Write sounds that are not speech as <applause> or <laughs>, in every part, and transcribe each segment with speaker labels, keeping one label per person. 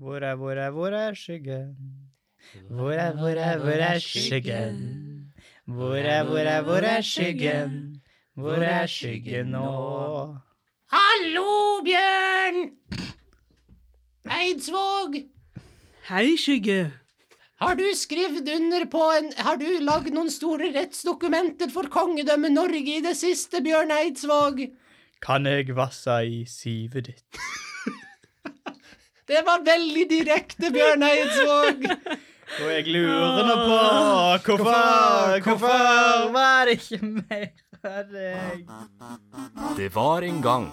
Speaker 1: Hvor er, hvor er, hvor er skyggen? Hvor er, hvor er, hvor er skyggen? Hvor er, hvor er, hvor er skyggen? Hvor er skyggen nå?
Speaker 2: Hallo, Bjørn! Eidsvåg!
Speaker 3: Hei, Skygge.
Speaker 2: Har du skrevet under på en Har du lagd noen store rettsdokumenter for kongedømmet Norge i det siste, Bjørn Eidsvåg?
Speaker 1: Kan jeg vasse i sivet ditt?
Speaker 2: Det var veldig direkte, Bjørn Eidsvåg.
Speaker 1: Og jeg lurer nå på hvorfor, hvorfor var det ikke mer av deg?
Speaker 4: Det var en gang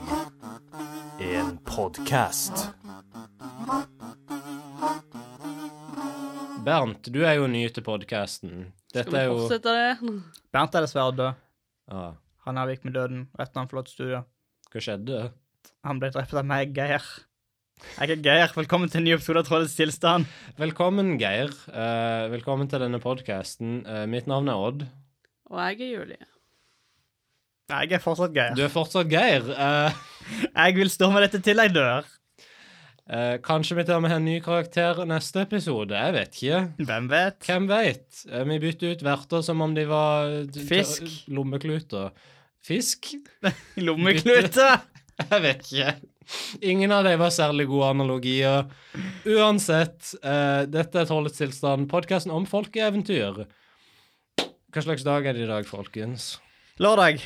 Speaker 4: en podkast.
Speaker 2: Bernt, du er jo ny til podkasten.
Speaker 3: Skal vi fortsette det?
Speaker 1: Bernt er dessverre død.
Speaker 2: ah,
Speaker 1: Han avgikk med døden rett når han forlot studio.
Speaker 2: Hva skjedde?
Speaker 1: Han ble drept av meg, Geir. Jeg er Geir. Velkommen til en ny episode av Trådets tilstand.
Speaker 2: Velkommen, Geir. Eh, velkommen til denne podkasten. mitt navn er Odd.
Speaker 3: Og jeg er Julie.
Speaker 1: Nei, Jeg er fortsatt Geir.
Speaker 2: Du er fortsatt Geir. Eh,
Speaker 1: Jeg vil stå med dette til jeg dør.
Speaker 2: eh, kanskje vi tar med en ny karakter neste episode. Jeg vet ikke.
Speaker 1: Hvem vet?
Speaker 2: Hvem veit? Eh, Vi bytter ut verter som om de var eh, t-
Speaker 1: Fisk.
Speaker 2: t- Lommekluter. Fisk? <laughs>
Speaker 1: Lommeklute!
Speaker 2: Jeg vet ikke. Ingen av dem var særlig gode analogier. Uansett, eh, dette er Trollets tilstand, podkasten om folkeeventyr. Hva slags dag er det i dag, folkens?
Speaker 1: Lørdag.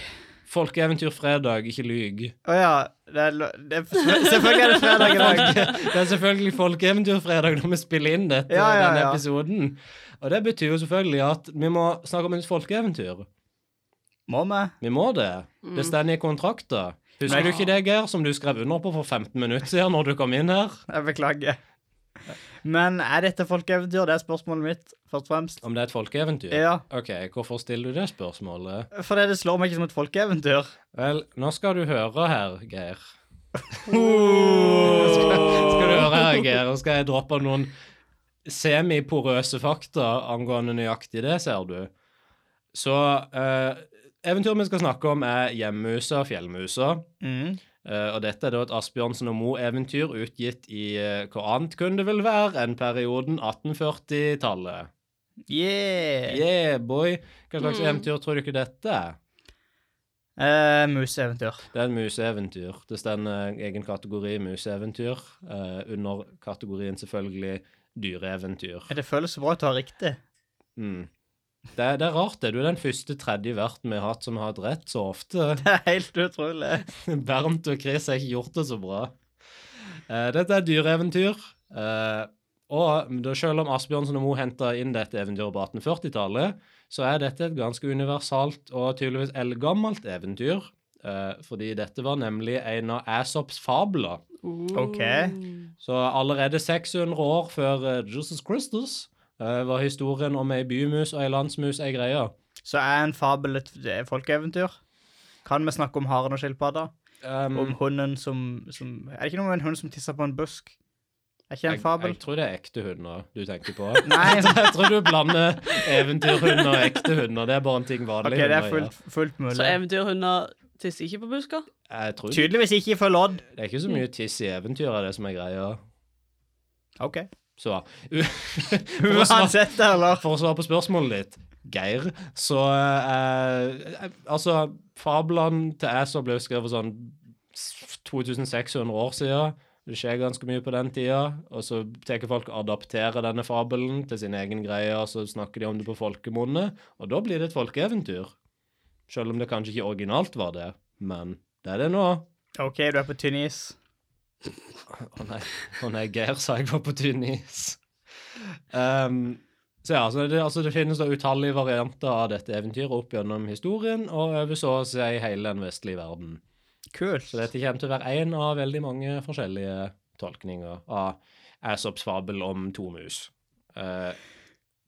Speaker 2: Folkeeventyr fredag, ikke lyg.
Speaker 1: Å ja. Det er, lø- det er, selvfølgelig er det fredag i dag.
Speaker 2: Det er selvfølgelig folkeeventyrfredag når vi spiller inn dette,
Speaker 1: Ja, ja,
Speaker 2: denne
Speaker 1: ja.
Speaker 2: episoden. Og det betyr jo selvfølgelig at vi må snakke om et folkeeventyr.
Speaker 1: Må vi?
Speaker 2: Vi må det.
Speaker 3: Mm.
Speaker 2: Det står i kontrakta. Husker
Speaker 1: Nei.
Speaker 2: du ikke det, Geir, som du skrev under på for 15 minutter siden når du kom inn her?
Speaker 1: Jeg beklager. Men er dette folkeeventyr? Det er spørsmålet mitt, først og fremst.
Speaker 2: Om det er et folkeeventyr?
Speaker 1: Ja.
Speaker 2: Ok, hvorfor stiller du det spørsmålet?
Speaker 1: For det, det slår meg ikke som et folkeeventyr.
Speaker 2: Vel, nå skal du høre her, Geir. <laughs> Skal du høre her, Geir, og skal jeg droppe noen semiporøse fakta angående nøyaktig det, ser du. Så eh, eventyret vi skal snakke om, er Hjemmusa og Fjellmusa.
Speaker 1: Mm.
Speaker 2: Eh, og dette er da et Asbjørnsen og Moe-eventyr utgitt i eh, hva annet kunne det vel være enn perioden 1840-tallet.
Speaker 1: Yeah.
Speaker 2: Yeah, boy! Hva slags
Speaker 3: Mm.
Speaker 2: eventyr tror du ikke dette er?
Speaker 1: Eh, museeventyr.
Speaker 2: Det er en museeventyr. Det står en eh, egen kategori museeventyr eh, under kategorien selvfølgelig dyreeventyr.
Speaker 1: Det føles så bra å ta riktig. <laughs>
Speaker 2: Mm. Det, er- det er rart, det. Du er den første tredje verten vi har hatt som har hatt rett så ofte.
Speaker 1: Det er helt utrolig.
Speaker 2: <laughs> Bernt og Chris har ikke gjort det så bra. Eh, dette er dyreeventyr. eh, og da selv om Asbjørnsen og Moe henta inn dette eventyret på 1840-tallet, så er dette et ganske universalt og tydeligvis eldgammelt eventyr. eh, fordi dette var nemlig en av Aesops fabler.
Speaker 1: Ok.
Speaker 2: Så allerede 600 år før eh, Jesus Christus eh, var historien om ei bymus og ei landsmus ei greie.
Speaker 1: Så er en fabel et det er folkeeventyr? Kan vi snakke om haren og skilpadda?
Speaker 2: Um,
Speaker 1: Om hunden som, som Er det ikke noe med en hund som tisser på en busk? Er ikke det
Speaker 2: jeg,
Speaker 1: en fabel?
Speaker 2: jeg tror det er ekte hunder du tenker på.
Speaker 1: <laughs>
Speaker 2: <laughs>
Speaker 1: Nei.
Speaker 2: jeg tror du blander eventyrhunder og ekte hunder. Det er bare en ting
Speaker 1: OK,
Speaker 2: vanlige
Speaker 1: det er
Speaker 2: hunder gjør.
Speaker 1: fullt, fullt
Speaker 3: Så
Speaker 1: mulig.
Speaker 3: eventyrhunder tisser ikke på busker?
Speaker 2: Jeg tror det
Speaker 1: Tydeligvis ikke ifølge lodd.
Speaker 2: er ikke så mye tiss i eventyr av det som er greia. <laughs>
Speaker 1: OK.
Speaker 2: Så u- for, å svare,
Speaker 1: Uansett, eller?
Speaker 2: for å svare på spørsmålet ditt, Geir, så eh, eh, Altså, fablene til Æsop ble jo skrevet sånn 2600 år siden. Det skjer ganske mye på den tida, og så tar folk og adapterer denne fabelen til sin egen greie, og så snakker de om det på folkemunne, og da blir det et folkeeventyr. Selv om det kanskje ikke originalt var det, men det er det nå.
Speaker 1: OK, du er på tynn is.
Speaker 2: Å nei, å nei, Geir sa jeg var på tynn is. Ehm, så ja, så det, altså det finnes da utallige varianter av dette eventyret opp gjennom historien, og over så å si hele den vestlige verden.
Speaker 1: Kult.
Speaker 2: Så dette kommer til å være én av veldig mange forskjellige tolkninger av Aesops fabel om to mus. Eh,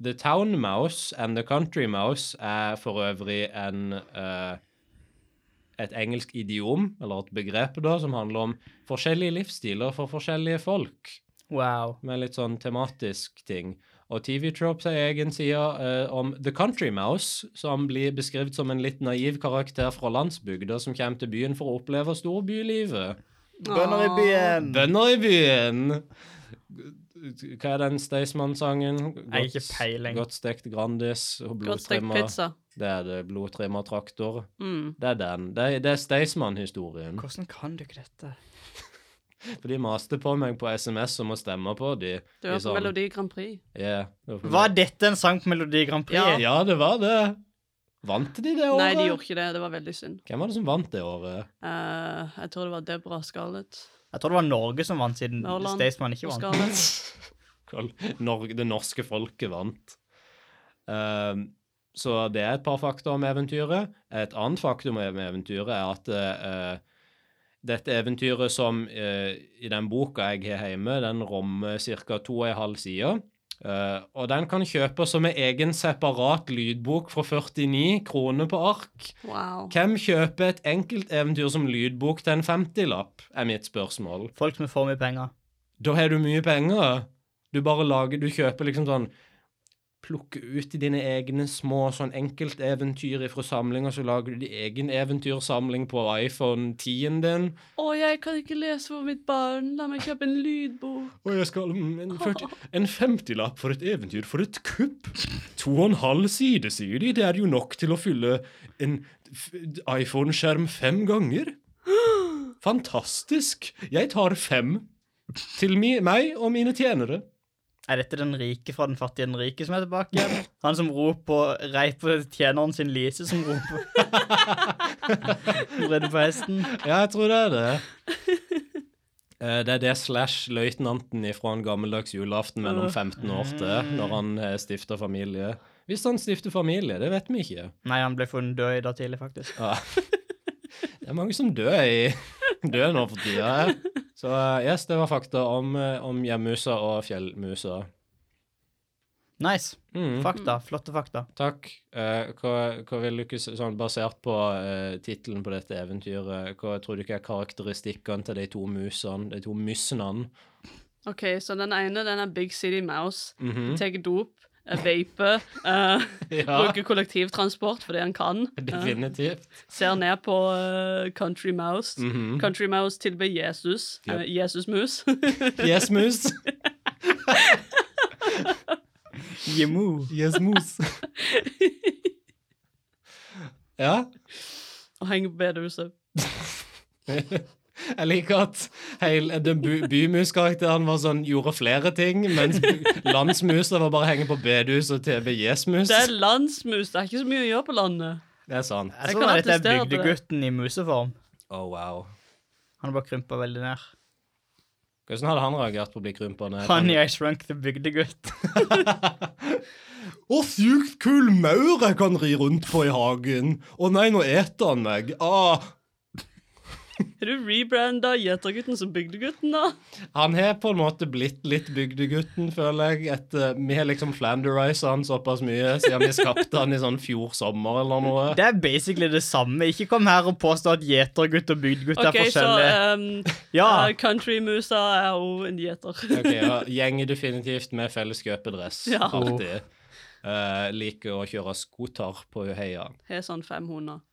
Speaker 2: the Town Mouse and The Country Mouse er for øvrig en eh, et engelsk idiom, eller et begrep, da, som handler om forskjellige livsstiler for forskjellige folk,
Speaker 1: Wow.
Speaker 2: med litt sånn tematisk ting. Og TV Tropes har egen side eh, om The Country Mouse, som blir beskrevet som en litt naiv karakter fra landsbygda som kommer til byen for å oppleve storbylivet.
Speaker 1: Mm. Bønder i byen.
Speaker 2: Bønder i byen. Hva er den Staysman-sangen?
Speaker 1: Jeg har
Speaker 2: Godt-
Speaker 1: ikke peiling.
Speaker 2: Godt stekt Grandis og
Speaker 3: Godt stekt
Speaker 2: blodtrimmer.
Speaker 3: pizza.
Speaker 2: Det er det blodtrimmertraktor.
Speaker 3: Mm.
Speaker 2: Det er den. Det er, det er Staysman-historien.
Speaker 1: Hvordan kan du ikke dette?
Speaker 2: For de maste på meg på SMS om å stemme på de.
Speaker 3: Det var
Speaker 2: I
Speaker 3: på
Speaker 2: sånn-
Speaker 3: Melodi Grand Prix.
Speaker 2: Yeah, det var for-
Speaker 1: Var dette en sang på Melodi Grand Prix?
Speaker 3: Ja.
Speaker 2: Ja, det var det. Vant de det året?
Speaker 3: Nei, de gjorde ikke det. Det var veldig synd.
Speaker 2: Hvem var det som vant det året?
Speaker 3: Eh, jeg tror det var Deborah Scarlett.
Speaker 1: Jeg tror det var Norge som vant, siden
Speaker 3: Norland
Speaker 1: Staysman ikke
Speaker 3: og
Speaker 1: vant.
Speaker 3: Scarlett.
Speaker 2: Kall- Norge, det norske folket vant. Ehm, så det er et par fakta om eventyret. Et annet faktum om eventyret er at eh, dette eventyret som eh, i den boka jeg har hjemme, den rommer ca. to og en halv side. Eh, og den kan kjøpes som en egen separat lydbok for 49 kroner på ark.
Speaker 3: Wow.
Speaker 2: Hvem kjøper et enkelteventyr som lydbok til en 50-lapp, er mitt spørsmål.
Speaker 1: Folk som får mye penger.
Speaker 2: Da har du mye penger. Du bare lager Du kjøper liksom sånn Plukker ut dine egne små sånn enkelteventyr ifra samlinger, så lager du din egen eventyrsamling på iPhone 10-en din.
Speaker 3: Å, jeg kan ikke lese for mitt barn. La meg kjøpe en lydbok.
Speaker 2: Og jeg skal mm, En, 40 en 50-lapp for et eventyr, for et kupp! To og en halv side, sier de. Det er jo nok til å fylle en f- iPhone-skjerm fem ganger. Fantastisk! Jeg tar fem. Til mi, meg og mine tjenere.
Speaker 1: Er dette den rike fra den fattige den rike som er tilbake igjen? Han som roper rei på tjeneren sin Lise, som roper Hun Redde på hesten.
Speaker 2: Ja, jeg tror det er det. Eh, Det er det slash løytnanten ifra en gammeldags julaften mellom 15 og 8, når han eh, stifter familie. Hvis han stifter familie, det vet vi ikke.
Speaker 1: Nei, han ble funnet død i dag tidlig, faktisk.
Speaker 2: Ja. <laughs> Det er mange som dør, i, <laughs> dør nå for tida. Så eh, yes, det var fakta om, eh, om hjemmusa og fjellmusa.
Speaker 1: Nice.
Speaker 2: Mm,
Speaker 1: Fakta. Flotte fakta.
Speaker 2: takk. Eh, hva, hva vil du ikke s- sånn Basert på uh, tittelen på dette eventyret, eh, hva tror du ikke er karakteristikkene til de to musene, de to myssene?
Speaker 3: OK, så den ene, den er Big City Mouse.
Speaker 2: Mhm.
Speaker 3: Tar dop, eh, vaper, eh,
Speaker 2: Ja,
Speaker 3: bruker kollektivtransport fordi han kan. eh,
Speaker 2: definitivt.
Speaker 3: ser ned på eh, Country Mouse.
Speaker 2: Mhm.
Speaker 3: Country Mouse tilbyr Jesus.
Speaker 2: Yep.
Speaker 3: eh, Jesusmus. <laughs>
Speaker 2: Yes, mus.
Speaker 1: Jimu.
Speaker 2: Yes, mus. <laughs> ja.
Speaker 3: og henger på bedehuset.
Speaker 2: Jeg liker at hele, den bu- bymuskarakteren var sånn, gjorde flere ting, mens bu- landsmusa var bare henge på bedehus og TBJs-mus.
Speaker 3: Det er landsmus. Det er ikke så mye å gjøre på landet.
Speaker 2: Det er sant.
Speaker 1: Jeg
Speaker 3: Jeg
Speaker 1: tror dette
Speaker 3: kan
Speaker 1: er
Speaker 3: attestere på det.
Speaker 1: bygdegutten i museform.
Speaker 2: Oh, wow.
Speaker 1: Han har bare krympa veldig ned.
Speaker 2: Hvordan hadde han reagert på å bli krympende?
Speaker 1: Han i I Shrunk the Bygdegutt.
Speaker 2: Å, sykt kul maur jeg kan ri rundt på i hagen. Å nei, nå eter han meg. Ah.
Speaker 3: Har du rebranda gjetergutten som bygdegutten, da?
Speaker 2: Han har på en måte blitt litt bygdegutten, føler jeg. Etter, vi har liksom flanderisa han såpass mye siden vi skapte han i sånn fjor sommer eller noe.
Speaker 1: Det er basically det samme. Ikke kom her og påstå at gjetergutt og bygdegutt
Speaker 3: OK,
Speaker 1: er
Speaker 3: så
Speaker 1: forskjellige.
Speaker 3: um,
Speaker 1: ja.
Speaker 3: eh, countrymusa er jo en gjeter. <laughs>
Speaker 2: Ok, ja, Gjenger definitivt med felles kjøpedress.
Speaker 3: Ja.
Speaker 2: Alltid. Eh, liker å kjøre skoter på Heia.
Speaker 3: Har sånn fem hunder.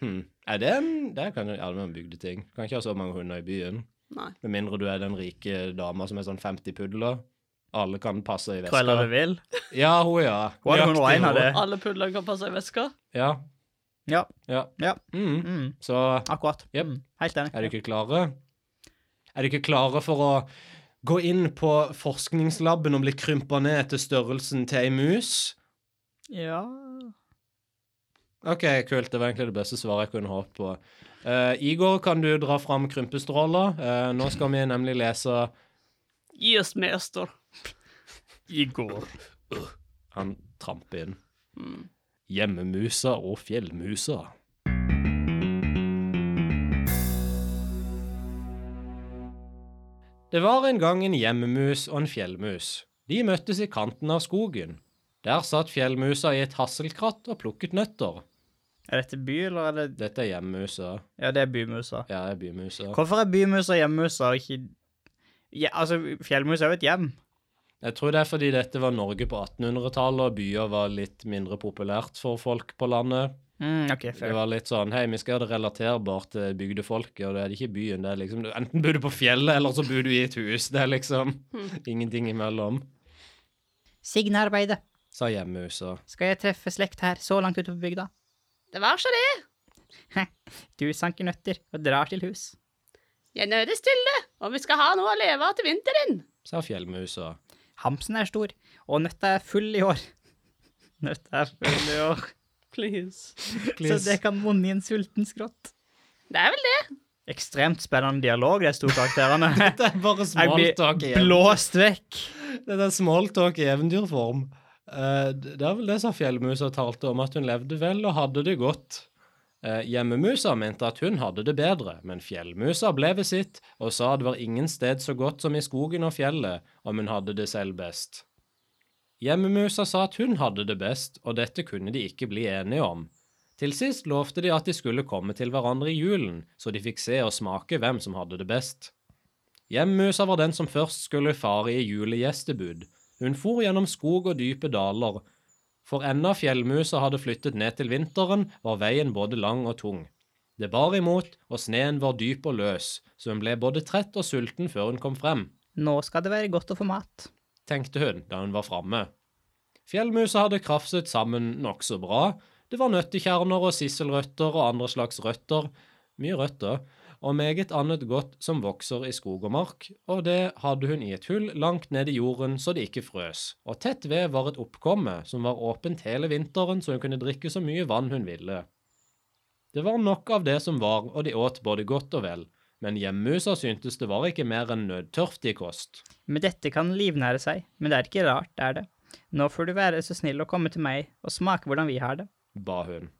Speaker 2: Hm. Er det en Det er kanskje en allmenn bygdeting. Kan ikke ha så mange hunder i byen.
Speaker 3: Nei.
Speaker 2: Med mindre du er den rike dama som er sånn 50 pudler. Alle kan passe i
Speaker 1: Hva eller
Speaker 2: veska.
Speaker 1: du vil.
Speaker 2: Ja, hun, ja.
Speaker 1: Hun hadde
Speaker 2: Nøyaktig
Speaker 1: 101 av det.
Speaker 3: Alle pudlene kan passe i veska.
Speaker 2: Ja.
Speaker 1: Ja.
Speaker 2: ja.
Speaker 1: Ja.
Speaker 2: Mm.
Speaker 1: Mm.
Speaker 2: Så
Speaker 1: Akkurat.
Speaker 2: Jep.
Speaker 1: Mm. Helt enig.
Speaker 2: Er dere ikke klare? Er dere ikke klare for å gå inn på forskningslaben og bli krympa ned til størrelsen til ei mus?
Speaker 1: Ja
Speaker 2: OK, kult. Det var egentlig det beste svaret jeg kunne håpe på. Eh, Igor, kan du dra fram krympestråler? Eh, nå skal vi nemlig lese
Speaker 3: Gi oss mester.
Speaker 1: I går.
Speaker 2: Han tramper inn. Hjemmemusa og fjellmusa. Det var en gang en hjemmemus og en fjellmus. De møttes i kanten av skogen. Der satt fjellmusa i et hasselkratt og plukket nøtter.
Speaker 1: Er dette by, eller er det
Speaker 2: Dette er hjemmemusa.
Speaker 1: Ja, det er bymusa.
Speaker 2: Ja, det er bymusa.
Speaker 1: Hvorfor er bymusa hjemmusa og ikke ja, Altså, fjellmus er jo et hjem.
Speaker 2: Jeg tror det er fordi dette var Norge på 1800-tallet, og byer var litt mindre populært for folk på landet.
Speaker 1: Mm, OK,
Speaker 2: Det
Speaker 1: fair.
Speaker 2: var litt sånn Hei, vi skal gjøre det relaterbart til bygdefolket, og det er ikke byen. Det er liksom Enten bor du på fjellet, eller så bor du i et hus. Det er liksom ingenting imellom.
Speaker 1: Signearbeidet.
Speaker 2: Sa hjemmehusa.
Speaker 1: Skal jeg treffe slekt her, så langt ute på bygda?
Speaker 5: Det var så det.
Speaker 1: Du sanker nøtter og drar til hus.
Speaker 5: Jeg nødes til det, og vi skal ha noe å leve av til vinteren.
Speaker 2: Sa fjellmusa.
Speaker 1: Hamsen er stor, og nøtta er full i år. <laughs> Nøtta er full i år,
Speaker 3: Please.
Speaker 1: så det kan vonde i en sulten skrått.
Speaker 5: Det er vel det.
Speaker 1: Ekstremt spennende dialog, de to
Speaker 2: <laughs>
Speaker 1: karakterene.
Speaker 2: Det er bare
Speaker 1: Jeg
Speaker 2: smalltalk
Speaker 1: blir
Speaker 2: igjen.
Speaker 1: blåst vekk.
Speaker 2: Det er smalltalk i eventyrform. Eh, det er vel det som fjellmusa talte om, at hun levde vel og hadde det godt. Eh, hjemmemusa mente at hun hadde det bedre, men fjellmusa ble ved sitt og sa det var ingen sted så godt som i skogen og fjellet om hun hadde det selv best. Hjemmemusa sa at hun hadde det best, og dette kunne de ikke bli enige om. Til sist lovte de at de skulle komme til hverandre i julen, så de fikk se og smake hvem som hadde det best. Hjemmusa var den som først skulle fare i julegjestebud. Hun for gjennom skog og dype daler. For enda fjellmusa hadde flyttet ned til vinteren, var veien både lang og tung. Det bar imot, og sneen var dyp og løs, så hun ble både trett og sulten før hun kom frem,
Speaker 1: Nå skal det være godt å få mat.
Speaker 2: tenkte hun da hun var framme. Fjellmusa hadde krafset sammen nokså bra. Det var nøttekjerner og sisselrøtter og andre slags røtter, mye røtter, og meget annet godt som vokser i skog og mark, og det hadde hun i et hull langt ned i jorden så det ikke frøs, og tett ved var et oppkomme som var åpent hele vinteren så hun kunne drikke så mye vann hun ville. Det var nok av det som var, og de åt både godt og vel, men hjemmusa syntes det var ikke mer enn nødtørftig kost.
Speaker 1: Med dette kan livnære seg, men det er ikke rart, er det. Nå får du være så snill å komme til meg og smake hvordan vi har det.
Speaker 2: ba hun.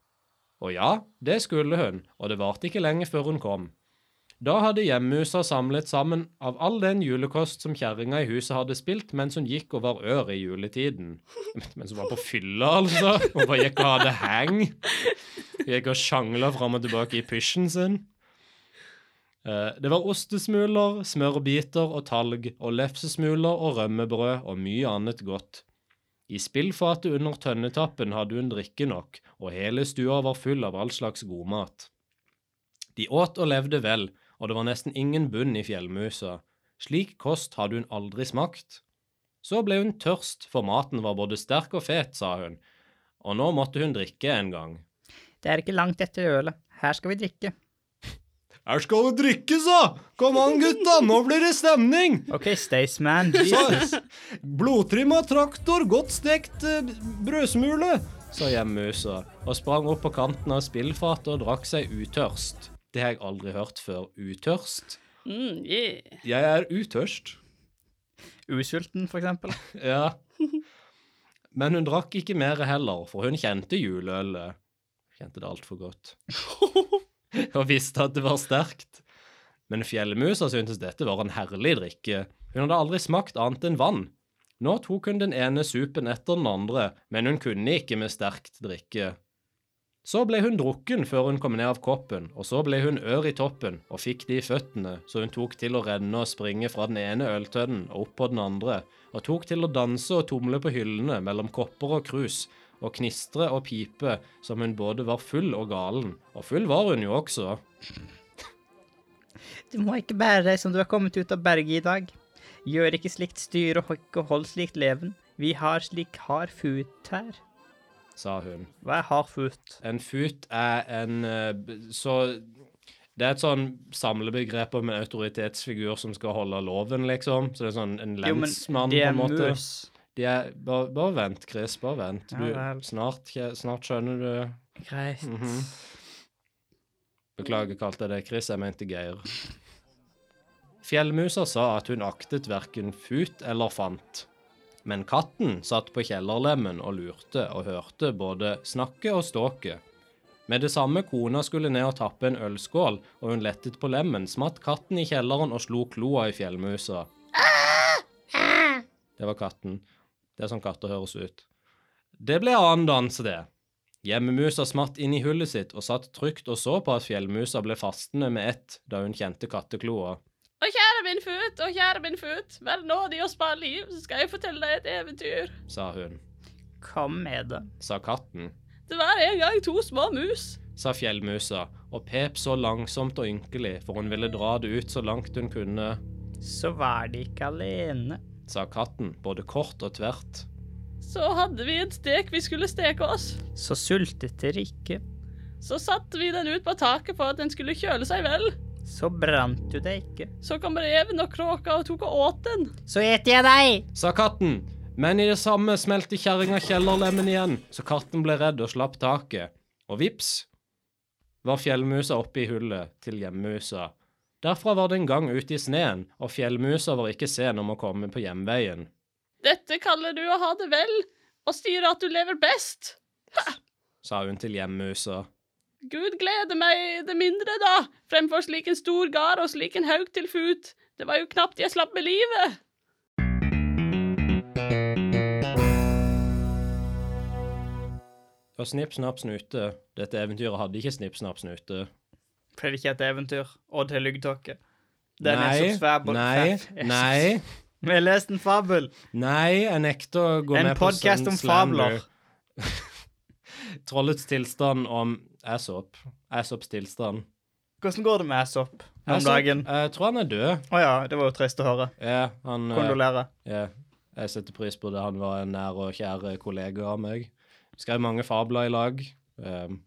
Speaker 2: Og ja, det skulle hun, og det varte ikke lenge før hun kom. Da hadde hjemmusa samlet sammen av all den julekost som kjerringa i huset hadde spilt mens hun gikk og var ør i juletiden. <laughs> Mens hun var på fylla, altså. Hun bare gikk og hadde hang. Hun gikk og sjangla fram og tilbake i pysjen sin. Eh, Det var ostesmuler, smørbiter og talg, og lefsesmuler og rømmebrød og mye annet godt. I spillfatet under tønnetappen hadde hun drikke nok, og hele stua var full av all slags godmat. De åt og levde vel, og det var nesten ingen bunn i fjellmusa. Slik kost hadde hun aldri smakt. Så ble hun tørst, for maten var både sterk og fet, sa hun, og nå måtte hun drikke en gang.
Speaker 1: Det er ikke langt etter ølet. Her skal vi drikke.
Speaker 2: Her skal det drikkes, da! Kom an, gutta, nå blir det stemning!
Speaker 1: OK, Staysman.
Speaker 2: <laughs> Så, blodtrimma traktor, godt stekt eh, brødsmule, sa hjemmehusa, og sprang opp på kanten av spillfatet og drakk seg utørst. Det har jeg aldri hørt før. Utørst?
Speaker 3: Mm, yeah.
Speaker 2: Jeg er utørst.
Speaker 1: Usulten, for eksempel.
Speaker 2: <laughs> Ja. Men hun drakk ikke mer heller, for hun kjente juleølet. Kjente det altfor godt. Og visste at det var sterkt. Men fjellmusa syntes dette var en herlig drikke. Hun hadde aldri smakt annet enn vann. Nå tok hun den ene supen etter den andre, men hun kunne ikke med sterkt drikke. Så ble hun drukken før hun kom ned av koppen, og så ble hun ør i toppen og fikk det i føttene, så hun tok til å renne og springe fra den ene øltønnen og opp på den andre, og tok til å danse og tumle på hyllene mellom kopper og krus, og knistre og pipe som hun både var full og galen, og full var hun jo også.
Speaker 1: Du må ikke bære deg som du er kommet ut av berget i dag. Gjør ikke slikt styr og ikke hold slikt leven. Vi har slik hard fut her.
Speaker 2: sa hun.
Speaker 1: Hva er hard fut?
Speaker 2: En fut er en eh, b- Så det er et sånn samlebegrep om en autoritetsfigur som skal holde loven, liksom. Så det er sånn en
Speaker 1: Jo, men
Speaker 2: lensmann,
Speaker 1: det
Speaker 2: på
Speaker 1: er
Speaker 2: en måte.
Speaker 1: mus.
Speaker 2: De er, bare, bare vent, Chris. Bare vent.
Speaker 1: Ja
Speaker 2: Du,
Speaker 1: vel.
Speaker 2: snart, kje- snart skjønner du
Speaker 1: Greit.
Speaker 2: Mhm. Beklager, kalte jeg deg Chris. Jeg mente Geir. Fjellmusa sa at hun aktet verken fut eller fant. Men katten satt på kjellerlemmen og lurte og hørte både snakke og ståke. Med det samme kona skulle ned og tappe en ølskål, og hun lettet på lemmen, smatt katten i kjelleren og slo kloa i fjellmusa. Det var katten. Det er sånn katter høres ut. Det ble annen dans, det. Hjemmemusa smatt inn i hullet sitt og satt trygt og så på at fjellmusa ble fastende med ett da hun kjente kattekloa.
Speaker 5: Å, kjære min fut, å, kjære min fut, vær nådig og spar liv, så skal jeg fortelle deg et eventyr.
Speaker 2: Sa hun.
Speaker 1: Kom med det.
Speaker 2: Sa katten.
Speaker 3: Det var en gang to små mus.
Speaker 2: sa fjellmusa, og pep så langsomt og ynkelig, for hun ville dra det ut så langt hun kunne,
Speaker 1: Så var de ikke alene.
Speaker 2: sa katten, både kort og tvert.
Speaker 3: Så hadde vi en stek vi skulle steke oss.
Speaker 1: Så sultet dere ikke.
Speaker 3: Så satte vi den ut på taket for at den skulle kjøle seg vel.
Speaker 1: Så brant du deg ikke.
Speaker 3: Så kom reven og kråka og tok og åt den.
Speaker 1: Så eter jeg deg!
Speaker 2: Sa katten, men i det samme smelte kjerringa kjellerlemmen igjen, så katten ble redd og slapp taket. Og vips var fjellmusa oppe i hullet til hjemmusa. Derfra var det en gang ute i sneen, og fjellmusa var ikke sen om å komme på hjemveien.
Speaker 3: Dette kaller du å ha det vel, og sier at du lever best.
Speaker 2: sa hun til hjemmusa.
Speaker 3: Gud glede meg det mindre, da, fremfor slik en stor gard og slik en haug til fut. Det var jo knapt jeg slapp med livet. <laughs>
Speaker 2: Og Snipp, snapp, snute. Dette eventyret hadde ikke Snipp, snapp, snute.
Speaker 1: Ble det ikke et eventyr? Odd har luggtåke.
Speaker 2: Nei, nei, nei,
Speaker 1: <laughs> Vi har lest en fabel.
Speaker 2: nei, jeg nekter å gå
Speaker 1: En
Speaker 2: med på
Speaker 1: podkast
Speaker 2: sånn
Speaker 1: om
Speaker 2: slander.
Speaker 1: fabler.
Speaker 2: Trollets tilstand om Asop. Asops tilstand.
Speaker 1: Hvordan går det med Aesop om
Speaker 2: Aesop,
Speaker 1: dagen?
Speaker 2: Altså, Jeg tror han er død.
Speaker 1: Å ja, det var jo trist å høre.
Speaker 2: Ja, han eh,
Speaker 1: Kondolerer.
Speaker 2: ja. Jeg setter pris på det. Han var en nær og kjær eh, kollega av meg. Vi skrev mange fabler i lag. Um,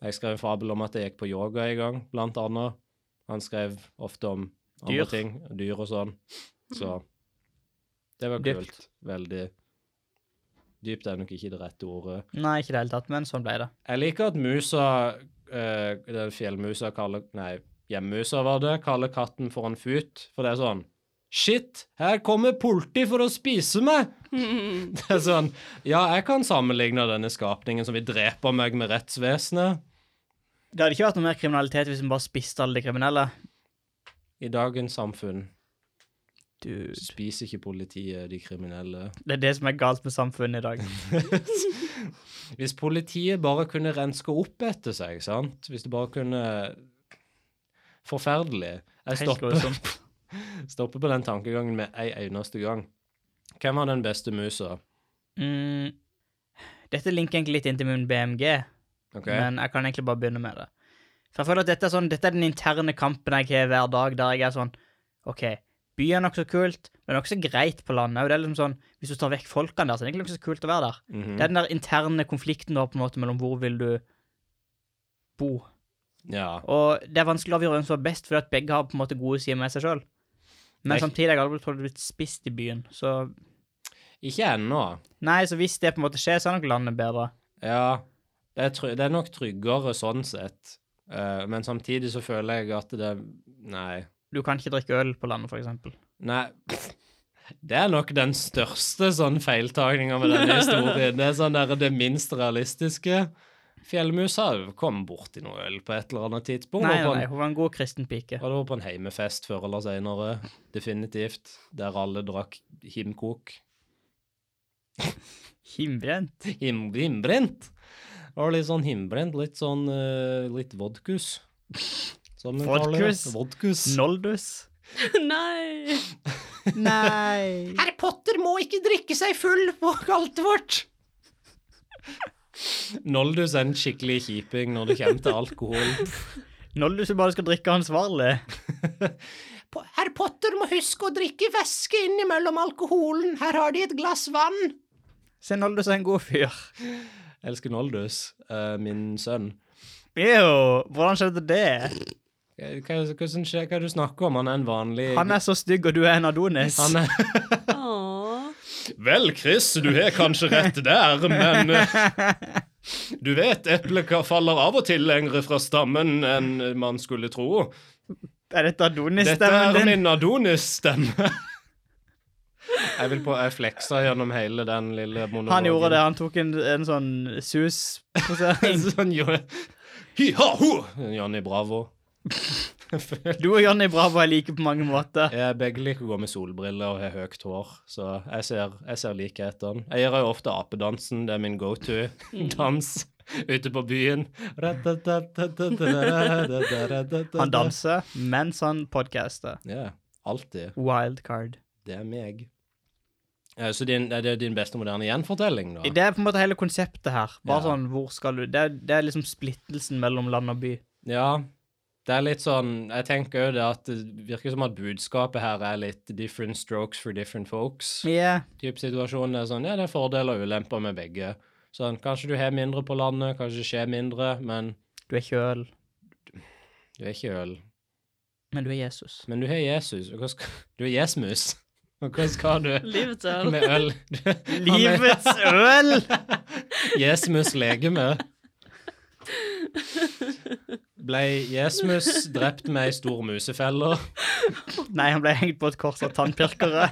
Speaker 2: jeg skrev en fabel om at jeg gikk på yoga en gang, blant annet. Han skrev ofte om andre
Speaker 1: Dyr.
Speaker 2: ting, dyr og sånn. Så det var
Speaker 1: Dypt.
Speaker 2: kult. Veldig Dypt er nok ikke det rette ordet.
Speaker 1: Nei, ikke i det hele tatt, men sånn ble det.
Speaker 2: Jeg liker at musa eh, Den fjellmusa kaller Nei, hjemmusa var det. Kaller katten for en fut. For det er sånn Shit, her kommer politi for å spise meg! Det er sånn Ja, jeg kan sammenligne denne skapningen som vil drepe meg med rettsvesenet.
Speaker 1: Det hadde ikke vært noe mer kriminalitet hvis vi bare spiste alle de kriminelle.
Speaker 2: I dagens samfunn
Speaker 1: Dude.
Speaker 2: spiser ikke politiet de kriminelle.
Speaker 1: Det er det som er galt med samfunnet i dag.
Speaker 2: Hvis politiet bare kunne renske opp etter seg, sant? Hvis de bare kunne Forferdelig. Jeg
Speaker 1: Helt
Speaker 2: stopper
Speaker 1: grusomt.
Speaker 2: Stopper på den tankegangen med ei eneste gang. Hvem var den beste musa?
Speaker 1: Mm. Dette linker egentlig litt inn til min BMG.
Speaker 2: Ok,
Speaker 1: men jeg kan egentlig bare begynne med det. For jeg føler at dette er, sånn, dette er den interne kampen jeg har hver dag, der jeg er sånn OK, by er nokså kult, men det er nokså greit på landet. Og det er liksom sånn, Hvis du tar vekk folkene der, så er det egentlig nokså kult å være der.
Speaker 2: mhm.
Speaker 1: Det er den der interne konflikten du har på en måte mellom hvor vil du bo.
Speaker 2: Ja.
Speaker 1: Og det er vanskelig å avgjøre hvem som er best, fordi at begge har på en måte gode sider med seg sjøl. Men
Speaker 2: Nei.
Speaker 1: samtidig har jeg aldri blitt- blitt spist i byen, så
Speaker 2: Ikke ennå.
Speaker 1: Nei, så hvis det på en måte skjer, så er nok landet bedre.
Speaker 2: Ja. Det er, try det er nok tryggere sånn sett. Eh, men samtidig så føler jeg at det Nei.
Speaker 1: Du kan ikke drikke øl på landet, for eksempel.
Speaker 2: Nei. Det er nok den største sånn feiltagninga med denne historien. Det er sånn der, det minst realistiske. Fjellmusa kom borti noe øl på et eller annet tidspunkt.
Speaker 1: Nei,
Speaker 2: og på
Speaker 1: nei, nei,
Speaker 2: en-
Speaker 1: hun var en god kristen pike.
Speaker 2: <laughs> Og det var på en heimefest før eller senere, definitivt, der alle drakk himkok.
Speaker 1: Himbrent.
Speaker 2: Him, himbrent! Det var litt sånn himbrent, litt sånn eh, litt vodkus. Som vi kaller det.
Speaker 1: Vodkus?
Speaker 2: Vodkus.
Speaker 1: Noldus.
Speaker 3: Nei.
Speaker 1: Nei.
Speaker 2: Herr Potter må ikke drikke seg full på kaltet vårt! Noldus er en skikkelig kjiping når det kommer til <laughs> alkohol.
Speaker 1: <laughs> Noldus vil bare skal drikke ansvarlig.
Speaker 2: Herr Potter må huske å drikke væske innimellom alkoholen. Her har de et glass vann.
Speaker 1: Se, Noldus er en god fyr.
Speaker 2: Elsker Noldus, eh, min sønn.
Speaker 1: Jo, hvordan skjedde det?
Speaker 2: Hva, hva, hvordan skjer- hva er det du snakker om? Han er en vanlig
Speaker 1: Han er så stygg, og du er en Adonis.
Speaker 2: Han er-
Speaker 3: Åh.
Speaker 2: Vel, Chris, du har kanskje rett der, men eh, Du vet, eplet ka- faller av og til lengre fra stammen enn man skulle tro.
Speaker 1: Er dette
Speaker 2: Dette
Speaker 1: Adonis-stemmen
Speaker 2: er
Speaker 1: din?
Speaker 2: min Adonis-stemme. Jeg vil på Jeg fleksa gjennom hele den lille monologen.
Speaker 1: Han gjorde det. Han tok en, en sånn <laughs> sus-posering.
Speaker 2: <laughs> Sånn gjorde Hi-ha-ho! Johnny Bravo.
Speaker 1: Du og Johnny Bravo er like på mange måter.
Speaker 2: Jeg Eh, begge liker å gå med solbriller og har høyt hår, så jeg ser, jeg ser likhetene. Jeg gjør jo ofte apedansen, det er min <laughs> go-to-dans ute på byen. Han
Speaker 1: Han danser mens han podcaster.
Speaker 2: Ja, alltid.
Speaker 1: Wildcard.
Speaker 2: Det er meg. Eh, Så din, er det din beste moderne gjenfortelling, da?
Speaker 1: Det er på en måte hele konseptet her. Bare
Speaker 2: Ja.
Speaker 1: sånn, hvor skal du det er, det er liksom splittelsen mellom land og by.
Speaker 2: Ja. Det er litt sånn Jeg tenker jo det at det virker som at budskapet her er litt 'different strokes for different folks'.
Speaker 1: Ja,
Speaker 2: type situasjon. Det er sånn, ja, det er fordeler og ulemper med begge. Sånn, kanskje du har mindre på landet, kanskje det skjer mindre, men
Speaker 1: du er ikke øl,
Speaker 2: du er ikke øl.
Speaker 1: men du er Jesus.
Speaker 2: Men du har Jesus, og hva skal Du er Jesmus, og hva skal du
Speaker 3: Livets øl.
Speaker 2: med øl?
Speaker 1: Livets øl!
Speaker 2: Jesmus legeme. Ble Jesmus drept med ei stor musefelle?
Speaker 1: Nei, han ble hengt på et kors av
Speaker 2: <laughs>
Speaker 1: tannpirkere.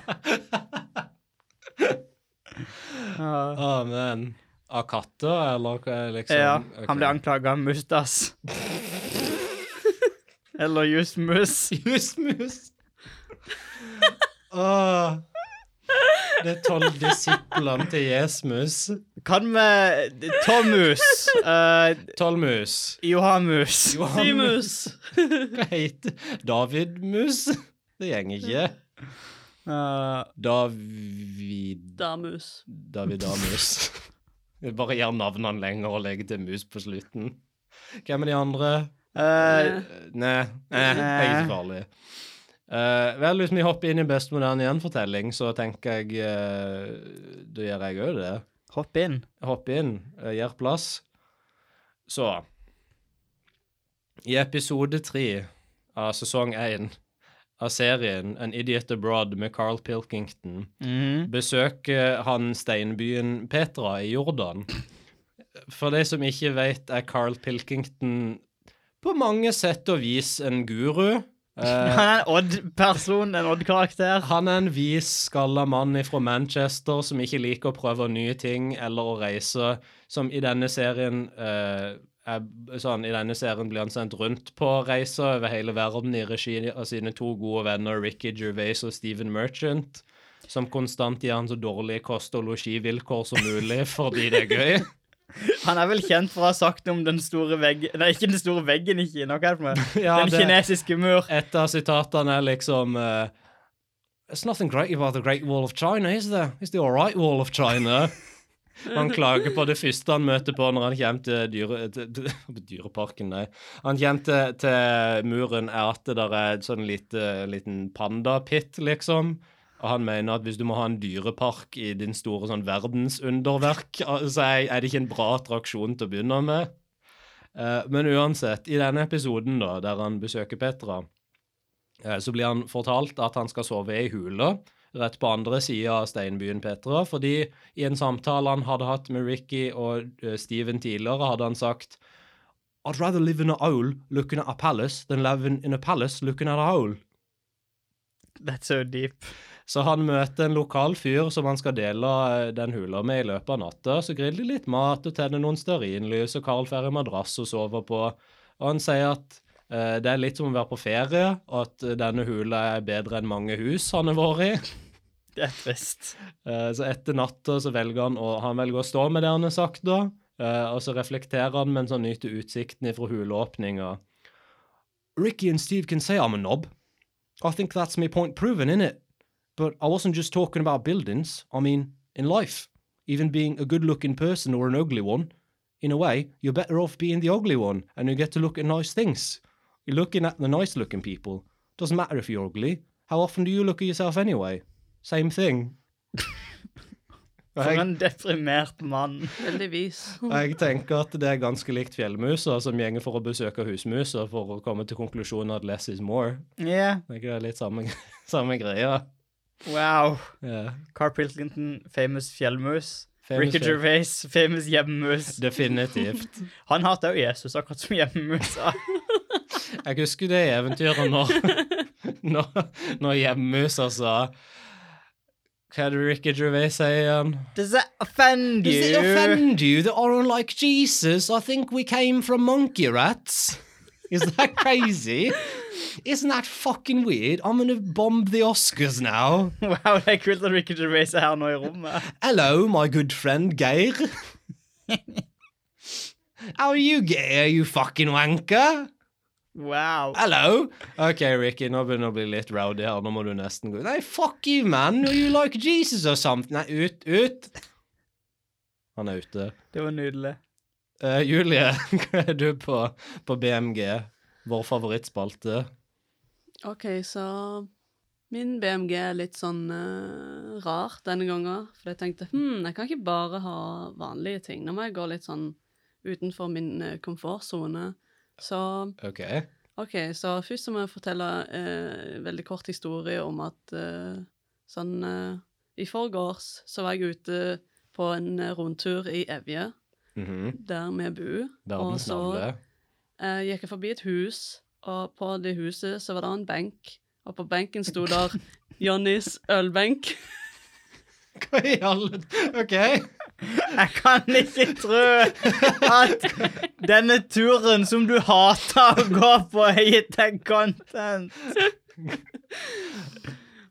Speaker 1: Ah.
Speaker 2: Amen. Av katter, eller hva liksom?
Speaker 1: Ja,
Speaker 2: Ok.
Speaker 1: han ble anklaga av mustas. Eller just mus.
Speaker 2: Jusmus. Åh. Det er tolv disiplene til Jesmus.
Speaker 1: Kan vi Tommus, uh,
Speaker 2: Tolv mus.
Speaker 1: Johamus
Speaker 2: Simus. Hva heter Davidmus? Det gjenger ikke.
Speaker 1: Eh,
Speaker 2: David...
Speaker 3: Damus.
Speaker 2: Davidamus. Jeg bare gjør navnene lenger og legger til mus på slutten. Hvem er de andre?
Speaker 1: eh,
Speaker 2: Nei, eh, jeg er ikke så farlig. Eh, vel, hvis vi hopper inn i best moderne gjenfortelling, så tenker jeg eh, Da gjør jeg òg det.
Speaker 1: Hopp inn.
Speaker 2: Hopp inn, eh, gjør plass. Så I episode tre av sesong én av serien An Idiot Abroad med Carl Pilkington
Speaker 1: Mhm.
Speaker 2: besøker eh, han steinbyen Petra i Jordan. For de som ikke vet, er Carl Pilkington på mange sett og vis en guru. Eh,
Speaker 1: Han er en Odd-person, en Odd-karakter.
Speaker 2: han er en vis, skalla mann fra Manchester som ikke liker å prøve nye ting eller å reise, som i denne serien eh, er, sånn, I denne serien blir han sendt rundt på reiser over hele verden i regi av sine to gode venner Ricky Gervais og Steven Merchant, som konstant gir han så dårlige kost- og losjivilkår som mulig fordi det er gøy. <laughs>
Speaker 1: Han er vel kjent for å ha sagt om den store veggen Nei, ikke den store veggen i Kina, hva er det for noe?
Speaker 2: <laughs> Ja,
Speaker 1: den
Speaker 2: det-
Speaker 1: kinesiske mur.
Speaker 2: Et av sitatene er liksom eh, It's nothing great about the Great Wall of China, is there? It's the alright Wall of China. Han klager på det første han møter på når han kommer til dyre, til- <laughs> til- dyreparken, nei. Han kommer til, til muren, er at det der er et sånn lite, liten pandapitt, liksom. Og han mener at hvis du må ha en dyrepark i din store sånn verdensunderverk, <laughs> så er er det ikke en bra attraksjon til å begynne med. Eh, Men uansett, i denne episoden da, der han besøker Petra, eh, så blir han fortalt at han skal sove i hula, rett på andre sida av steinbyen Petra, fordi i en samtale han hadde hatt med Ricky og eh, Steven tidligere, hadde han sagt I'd rather live in a hole looking at a palace than live in- in a palace looking at a hole.
Speaker 1: That's so deep.
Speaker 2: Så han møter en lokal fyr som han skal dele eh, den hula med i løpet av natta. Så griller de litt mat og tenner noen stearinlys, og Carl får en madrass å sove på. Og han sier at eh, det er litt som å være på ferie, og at eh, denne hula er bedre enn mange hus han har vært i.
Speaker 1: Det er trist.
Speaker 2: Eh, Så etter natta så velger han å, han velger å stå med det han har sagt da, eh, og så reflekterer han mens han nyter utsikten ifra huleåpninga. Ricky and Steve can say I'm a knob. I think that's my point proven, innit? But I wasn't just talking about buildings. I mean, in life, even being a good-looking person or an ugly one, in a way, you're better off being the ugly one, and you get to look at nice things. You're looking at the nice-looking people. Doesn't matter if you're ugly. How often do you look at yourself anyway? Same thing.
Speaker 1: For en deprimert mann.
Speaker 3: Heldigvis.
Speaker 2: Jeg tenker at det er ganske likt fjellmusa som gjenger for å besøke husmusa for å komme til konklusjonen at less is more.
Speaker 1: Yeah,
Speaker 2: Det er ikke det litt samme, <laughs> samme greia.
Speaker 1: wow.
Speaker 2: Ja.
Speaker 1: Carl Pilkington, famous fjellmus.
Speaker 2: Famous
Speaker 1: Ricky
Speaker 2: fjell-
Speaker 1: Gervais, famous hjemmemus.
Speaker 2: Definitivt.
Speaker 1: Han hater jo Jesus, akkurat som
Speaker 2: <laughs>
Speaker 1: hjemmemusa.
Speaker 2: Jeg husker det eventyret når, <laughs> når, når hjemmusa sa Hva er det Ricky Gervais sier igjen?
Speaker 1: Does that offend
Speaker 2: Does it
Speaker 1: you?
Speaker 2: offend you that I don't like Jesus? I think we came from monkey rats. Is that crazy? Isn't that fucking weird? I'm gonna bomb the Oscars now.
Speaker 1: Wow, det er kult at Ricky Gervais er her nå i rommet.
Speaker 2: Hello, my good friend Geir. How are you, Geir, you fucking wanker?
Speaker 1: Wow.
Speaker 2: Hello! OK, Ricky, nå begynner det å bli litt rowdy her. Nå må du nesten gå Nei, fuck you, man! You like Jesus or something? Nei, ut, ut! Han er ute.
Speaker 1: Det var nydelig.
Speaker 2: Eh, Julie, <laughs> hva er du på, på BMG? Vår favorittspalte.
Speaker 3: OK, så min BMG er litt sånn eh, rar denne gangen. For jeg tenkte hm, jeg kan ikke bare ha vanlige ting. Nå må jeg gå litt sånn utenfor min eh, komfortsone. Så
Speaker 2: OK.
Speaker 3: OK, så først så må jeg fortelle eh, en veldig kort historie om at eh, sånn eh, I forgårs så var jeg ute på en eh, rundtur i Evje,
Speaker 2: Mhm.
Speaker 3: der vi bor. og
Speaker 2: Verdens
Speaker 3: så-
Speaker 2: navle.
Speaker 3: eh, gikk jeg forbi et hus, og på det huset så var det en benk, og på benken sto <laughs> der Johnnys ølbenk.
Speaker 2: Hva i alle OK.
Speaker 1: Jeg kan ikke tro at denne turen som du hater å gå på, har gitt deg content.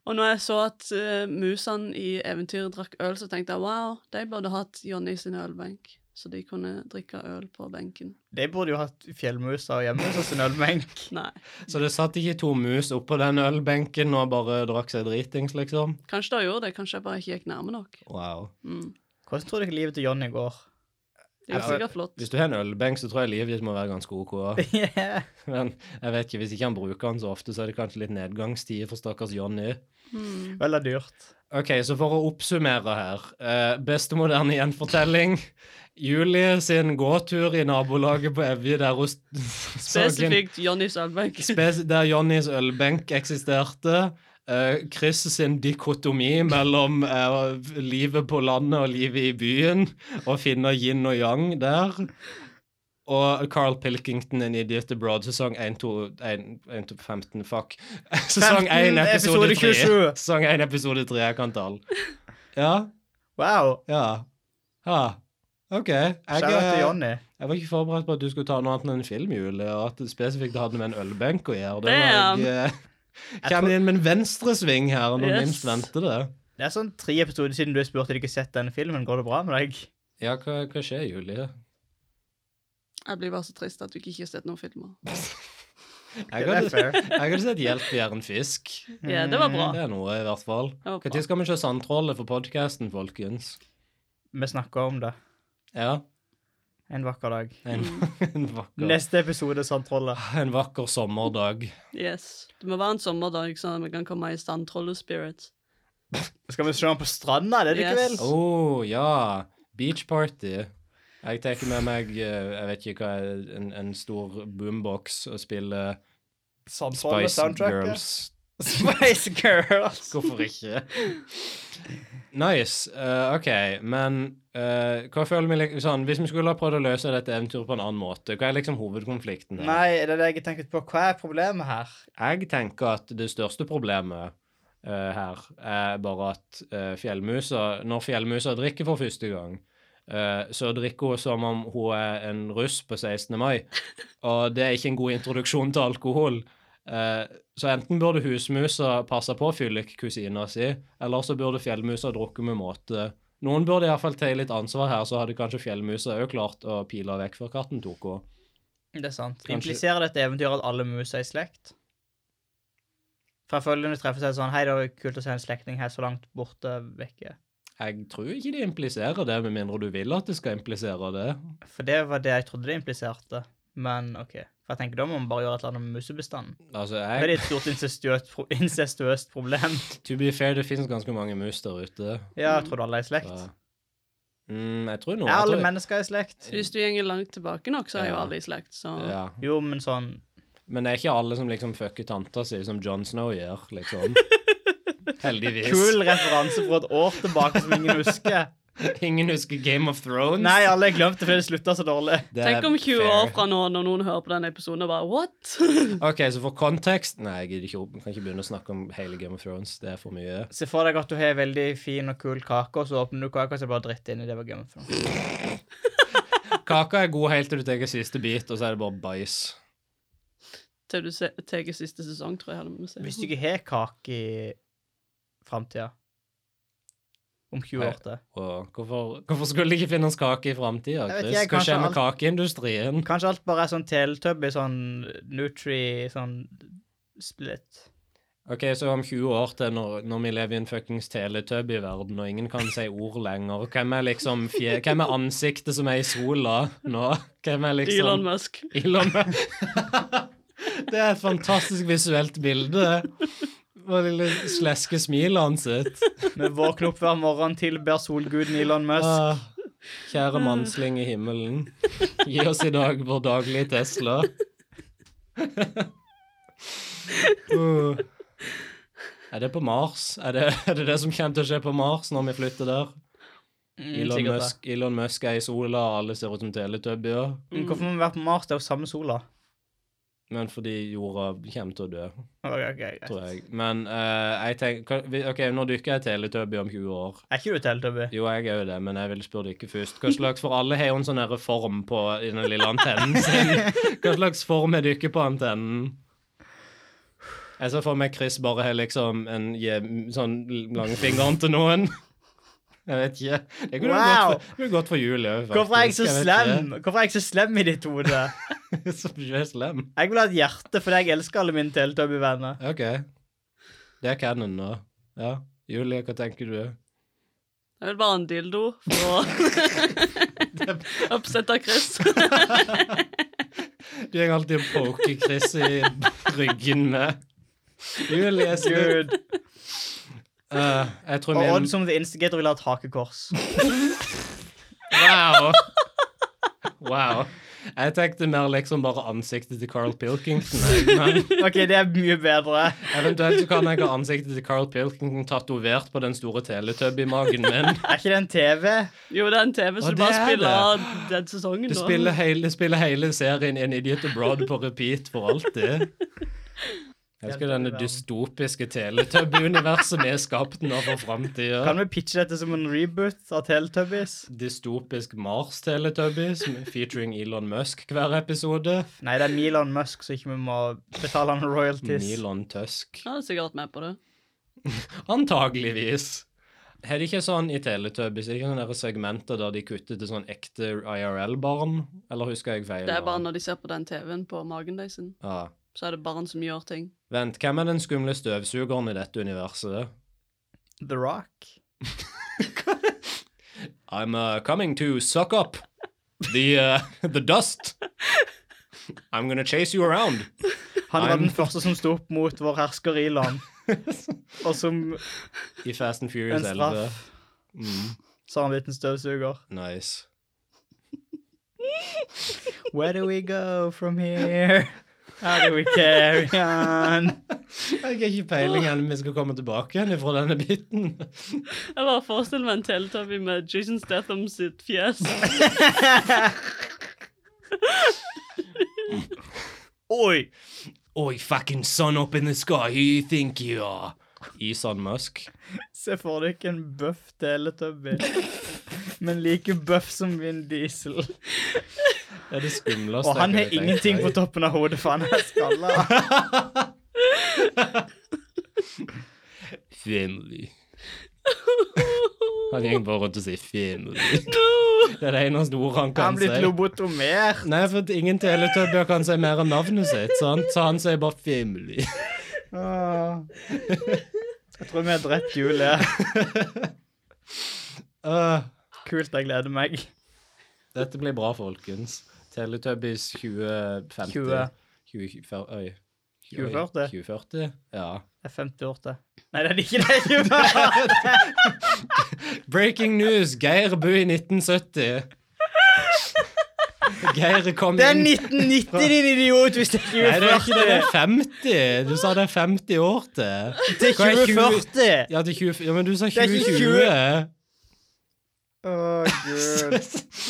Speaker 3: Og når jeg så at eh, musene i eventyret drakk øl, så tenkte jeg wow, de burde hatt Johnny sin ølbenk, så de kunne drikke øl på benken.
Speaker 1: De burde jo hatt fjellmusa og hjemmemusa sin ølbenk.
Speaker 3: Nei,
Speaker 2: Så det satt ikke to mus oppå den ølbenken og bare drakk seg dritings, liksom?
Speaker 3: kanskje de gjorde det, kanskje jeg bare ikke gikk nærme nok.
Speaker 2: Wow.
Speaker 3: Mm.
Speaker 1: Hvordan tror dere livet til Johnny går?
Speaker 3: Det er
Speaker 2: Ja,
Speaker 3: jo sikkert flott.
Speaker 2: Hvis du har en ølbenk, så tror jeg livet ditt må være ganske OK.
Speaker 1: <laughs> Yeah.
Speaker 2: Men jeg vet ikke, hvis ikke han bruker den så ofte, så er det kanskje litt nedgangstid for stakkars Johnny.
Speaker 3: Mm.
Speaker 1: Vel er dyrt.
Speaker 2: Ok, så for å oppsummere her. eh, beste moderne gjenfortelling. Julie sin gåtur i nabolaget på Evje der hun s- <laughs> så en-
Speaker 3: Spesifikt Johnnys ølbenk.
Speaker 2: Spes der Johnnys ølbenk eksisterte. eh, Chris sin dikotomi mellom eh, livet på landet og livet i byen, og finne yin og yang der. Og Carl Pilkington in Idiot Abroad, sesong 1, 2, 1, 1 2, 15, fuck. <laughs> Sesong 1,
Speaker 1: 15,
Speaker 2: episode
Speaker 1: episode
Speaker 2: 3.
Speaker 1: 27.
Speaker 2: Sesong 1, episode 3, jeg kan tall. Ja,
Speaker 1: Wow.
Speaker 2: ja. Ja. OK. Jeg,
Speaker 1: Shout-out til
Speaker 2: eh,
Speaker 1: Johnny.
Speaker 2: jeg var ikke forberedt på at du skulle ta noe annet enn en film, Julie, og at det spesifikt hadde med en ølbenk å gjøre. Det var jeg, eh,
Speaker 1: tror-
Speaker 2: Kommer inn med en venstresving her når
Speaker 3: Yes.
Speaker 2: minst venter det.
Speaker 1: Det er sånn tre episoder siden du spurte om du ikke har sett denne filmen. Går det bra med deg?
Speaker 2: Ja, hva, hva skjer, Julie?
Speaker 3: <laughs> Jeg blir bare så trist at du ikke har sett noen filmer.
Speaker 2: Jeg
Speaker 1: Det er
Speaker 2: hadde,
Speaker 1: fair.
Speaker 2: <laughs> jeg hadde sett Hjelp, vi er en fisk.
Speaker 3: Ja, det var bra.
Speaker 2: Det er noe, i hvert fall.
Speaker 3: Det var bra.
Speaker 2: Når skal vi se Sandtrollet for podkasten, folkens?
Speaker 1: Vi snakker om det
Speaker 2: Ja,
Speaker 1: en vakker dag.
Speaker 2: en, <laughs> en, vakker,
Speaker 1: Neste episode Sandtrollet.
Speaker 2: en vakker sommerdag.
Speaker 3: Yes. Det må være en sommerdag, sånn at vi kan komme i stand trollespirit.
Speaker 1: Skal vi se den på stranda? Det er det ikke
Speaker 3: Yes.
Speaker 1: vel?
Speaker 2: Å oh, ja, beach party. Jeg tenker med meg eh, jeg vet ikke hva, en, en stor boombox og spille
Speaker 1: Sandtrollet,
Speaker 2: Spice
Speaker 1: Sånn soundtracket.
Speaker 2: Girls.
Speaker 1: Spice Girls.
Speaker 2: <laughs> Hvorfor ikke? Nice. eh, OK, men eh, hva føler vi lik- sånn, Hvis vi skulle ha prøvd å løse dette eventyret på en annen måte, hva er liksom hovedkonflikten? her?
Speaker 1: Nei, det er det jeg har tenkt på. Hva er problemet her?
Speaker 2: Jeg tenker at det største problemet eh, her er bare at eh, fjellmusa Når fjellmusa drikker for første gang, eh, så drikker hun som om hun er en russ på 16. mai. Og det er ikke en god introduksjon til alkohol. Eh, så enten burde husmusa passe på fyllik-kusina si, eller så burde fjellmusa drukke med måte. Noen burde iallfall ta litt ansvar her, så hadde kanskje fjellmusa òg klart å pile vekk før katten tok henne.
Speaker 1: Det er sant.
Speaker 2: Kanskje-
Speaker 1: Impliserer dette eventyret at alle mus er i slekt? For jeg føler når du treffer seg sånn Hei, det var kult å se en slektning her så langt borte vekke.
Speaker 2: Jeg tror ikke de impliserer det, med mindre du vil at det skal implisere det.
Speaker 1: For det var det jeg trodde det impliserte. Men OK. For jeg tenker da må man bare gjøre et eller annet med musebestanden.
Speaker 2: Altså,
Speaker 1: Det er
Speaker 2: jeg,
Speaker 1: et stort incestuøst, pro <laughs> incestuøst problem.
Speaker 2: to be fair, det finnes ganske mange mus der ute.
Speaker 1: Ja, jeg tror alle er i slekt.
Speaker 2: Så. Mm, jeg tror noen
Speaker 1: Er alle
Speaker 2: jeg tror-
Speaker 1: mennesker i slekt?
Speaker 3: Hvis du gjenger langt tilbake nok, så er jo
Speaker 2: Ja.
Speaker 3: alle i slekt, så
Speaker 2: ja.
Speaker 1: Jo, men sånn
Speaker 2: Men det er ikke alle som liksom fucker tanta si, som Jon Snow gjør,
Speaker 1: <laughs>
Speaker 2: liksom. Heldigvis.
Speaker 1: Kul referanse fra et år tilbake som ingen husker. <laughs>
Speaker 2: Ingen husker Game of Thrones.
Speaker 1: Nei, alle har glemt det fordi det slutta så dårlig.
Speaker 2: Det er
Speaker 3: Tenk om 20
Speaker 2: fair.
Speaker 3: år fra nå, når noen hører på den episoden og bare What? <laughs>
Speaker 2: OK, så for kontekst Nei, jeg gidder ikke opp. Jeg kan ikke begynne å snakke om hele Game of Thrones. Det er for
Speaker 1: <laughs>
Speaker 2: mye.
Speaker 1: Se for deg at du har en veldig fin og kul kake, og så åpner du kaka, og så er det bare dritt inni. Det var gøy. for noe.
Speaker 2: Kaka er god helt til du tar siste bit, og så er det bare bæsj.
Speaker 3: Til du se- tar siste sesong, tror jeg. hadde vi må si.
Speaker 1: Hvis du ikke har kake i framtida om 20 år til.
Speaker 2: Og hvorfor, hvorfor skulle det ikke finnes kake i framtida?
Speaker 1: Jeg vet ikke,
Speaker 2: Chris? Hva skjer
Speaker 1: kanskje
Speaker 2: med
Speaker 1: alt-
Speaker 2: kakeindustrien?
Speaker 1: Kanskje alt bare er sånn teletubby, sånn Nutri, sånn split.
Speaker 2: Ok, så om 20 år til når, når vi lever i en fuckings teletub i verden, og ingen kan si ord lenger, hvem er liksom fje, hvem er ansiktet som er i sola nå? Hvem er liksom
Speaker 3: Elon Musk.
Speaker 2: Elon Musk. <laughs> det er et fantastisk visuelt bilde. Og det lille sleske smilet hans. sitt.
Speaker 1: Vi våkner opp hver morgen, tilber solguden Elon Musk.
Speaker 2: Ah, kjære mannsling i himmelen, gi oss i dag vår daglige Tesla. Uh. Er det på Mars? Er det, er det det som kommer til å skje på Mars når vi flytter der?
Speaker 1: Mm,
Speaker 2: Elon
Speaker 1: sikkert det.
Speaker 2: Musk, Elon Musk er i sola, og alle ser ut som teletubbier.
Speaker 1: Men Hvorfor må vi være på Mars? Det er jo samme sola.
Speaker 2: Men fordi jorda kommer til å dø,
Speaker 1: Ok, ok, greit.
Speaker 2: tror jeg. Men eh, jeg tenker hva- OK, når du ikke er teletubby om 20 år
Speaker 1: Er ikke du teletubby?
Speaker 2: Jo, jeg er jo det, men jeg vil spørre dere først. Hva slags, For alle har jo en sånn her form på i den lille antennen sin. Hva slags form har dere på antennen? Jeg ser for meg Chris bare har liksom en je- sånn langfingeren til noen. Jeg vet ikke. Det kunne
Speaker 1: Wow.
Speaker 2: gått for, det kunne gått for Julie òg, faktisk.
Speaker 1: Hvorfor er jeg så
Speaker 2: vet
Speaker 1: slem? Hvorfor er jeg så slem i ditt hode?
Speaker 2: ikke. <laughs> så du er slem.
Speaker 1: Jeg vil ha et hjerte fordi jeg elsker alle mine teletubby-venner.
Speaker 2: OK. Det er canon nå. Ja. Julie, hva tenker du?
Speaker 3: Jeg vil bare ha en dildo for å
Speaker 2: <laughs>
Speaker 3: <laughs> oppsette Chris.
Speaker 2: Du går alltid og poker Chris i ryggen med Julie, slutt.
Speaker 1: Gud.
Speaker 2: Eh, jeg tror
Speaker 1: Og
Speaker 2: min
Speaker 1: Odd som the instigator vil ha et hakekors.
Speaker 2: Wow. Wow. Jeg tenkte mer liksom bare ansiktet til Carl Pilkington. jeg, Men
Speaker 1: OK, det er mye bedre.
Speaker 2: eventuelt så kan jeg ha ansiktet til Carl Pilkington tatovert på den store teletub i magen min.
Speaker 1: Er ikke det en TV?
Speaker 3: Jo, det er en
Speaker 2: Å,
Speaker 3: TV, så du
Speaker 2: det
Speaker 3: bare
Speaker 2: er
Speaker 3: spiller
Speaker 2: det.
Speaker 3: av den sesongen
Speaker 2: Det
Speaker 3: nå.
Speaker 2: spiller hele, det spiller hele serien En Idiot Abroad på repeat for alltid. Jeg elsker denne dystopiske teletub-universet vi er skapt nå for framtida.
Speaker 1: Kan vi pitche dette som en reboot av Teletubbies?
Speaker 2: Dystopisk Mars-teletubbies featuring Elon Musk hver episode.
Speaker 1: Nei, det er Milon Musk, så ikke vi må betale han royalties.
Speaker 2: Elon Tusk.
Speaker 3: Han er sikkert med på det.
Speaker 2: Antageligvis. Er det ikke sånn i Teletubbies? Er det ikke sånne der segmenter der de kutter til sånn ekte IRL-barn? Eller husker jeg feil?
Speaker 3: Det er bare
Speaker 2: nå?
Speaker 3: når de ser på den TV-en på magen deres,
Speaker 2: Ja.
Speaker 3: så er det barn som gjør ting.
Speaker 2: Vent, hvem er den skumle støvsugeren i dette universet?
Speaker 1: The Rock.
Speaker 2: I'm uh, coming to suck up the, uh, the dust. I'm gonna chase you around.
Speaker 1: Han var
Speaker 2: I'm-
Speaker 1: den første som sto opp mot vår hersker
Speaker 2: <laughs>
Speaker 1: Elon. Og som
Speaker 2: I Fast and Furious
Speaker 1: en
Speaker 2: 11.
Speaker 1: straff
Speaker 2: Mm.
Speaker 1: så har han blitt en støvsuger.
Speaker 2: Nice.
Speaker 1: Where do we go from here? How do we carry on?
Speaker 2: Jeg har ikke peiling enn om vi skal komme tilbake igjen fra denne biten.
Speaker 3: Jeg bare forestiller meg en teletubby med Jason Statham sitt fjes.
Speaker 2: <laughs>
Speaker 1: Oi!
Speaker 2: Oi, fucking sun up in the sky, who you think you are? Elon Musk.
Speaker 1: Se for deg ikke en bøff teletubby, men like bøff som Vin Diesel.
Speaker 2: Det er det skumleste
Speaker 1: Og han
Speaker 2: jeg
Speaker 1: har
Speaker 2: kunne tenkt
Speaker 1: ingenting på
Speaker 2: meg.
Speaker 1: toppen av hodet, for han er skalla.
Speaker 2: Family. Han gikk bare rundt og sier 'family'. Det er det eneste ordet han
Speaker 1: Han
Speaker 2: <laughs> kan
Speaker 1: blitt
Speaker 2: si.
Speaker 1: lobotomert.
Speaker 2: Nei, for at ingen teletubbier kan si mer enn navnet sitt, sant? så han sier bare
Speaker 1: <laughs>
Speaker 2: 'family'.
Speaker 1: Åh. Jeg tror vi har drept Julie.
Speaker 2: Øh,
Speaker 1: Kult, jeg gleder meg.
Speaker 2: dette blir bra, folkens. Teletubbies 2050.
Speaker 1: 20.
Speaker 2: 2040. Oi. Oi.
Speaker 1: 2040?
Speaker 2: 2040? Ja. <laughs>
Speaker 1: Det er 50 år til. Nei, det er ikke det. Ikke bare.
Speaker 2: Breaking news! Geir Bu i
Speaker 1: <laughs>
Speaker 2: 1970. Geir kom
Speaker 1: <laughs> Det er
Speaker 2: inn
Speaker 1: 1990, din idiot, hvis det
Speaker 2: Nei,
Speaker 1: er
Speaker 2: det er ikke det.
Speaker 1: 2040.
Speaker 2: Det er 50. Du sa det er 50 år til.
Speaker 1: Til
Speaker 2: Hva er
Speaker 1: 2040.
Speaker 2: Ja, til 20... ja men du sa
Speaker 1: er ikke
Speaker 2: 2020.
Speaker 1: Å, gud.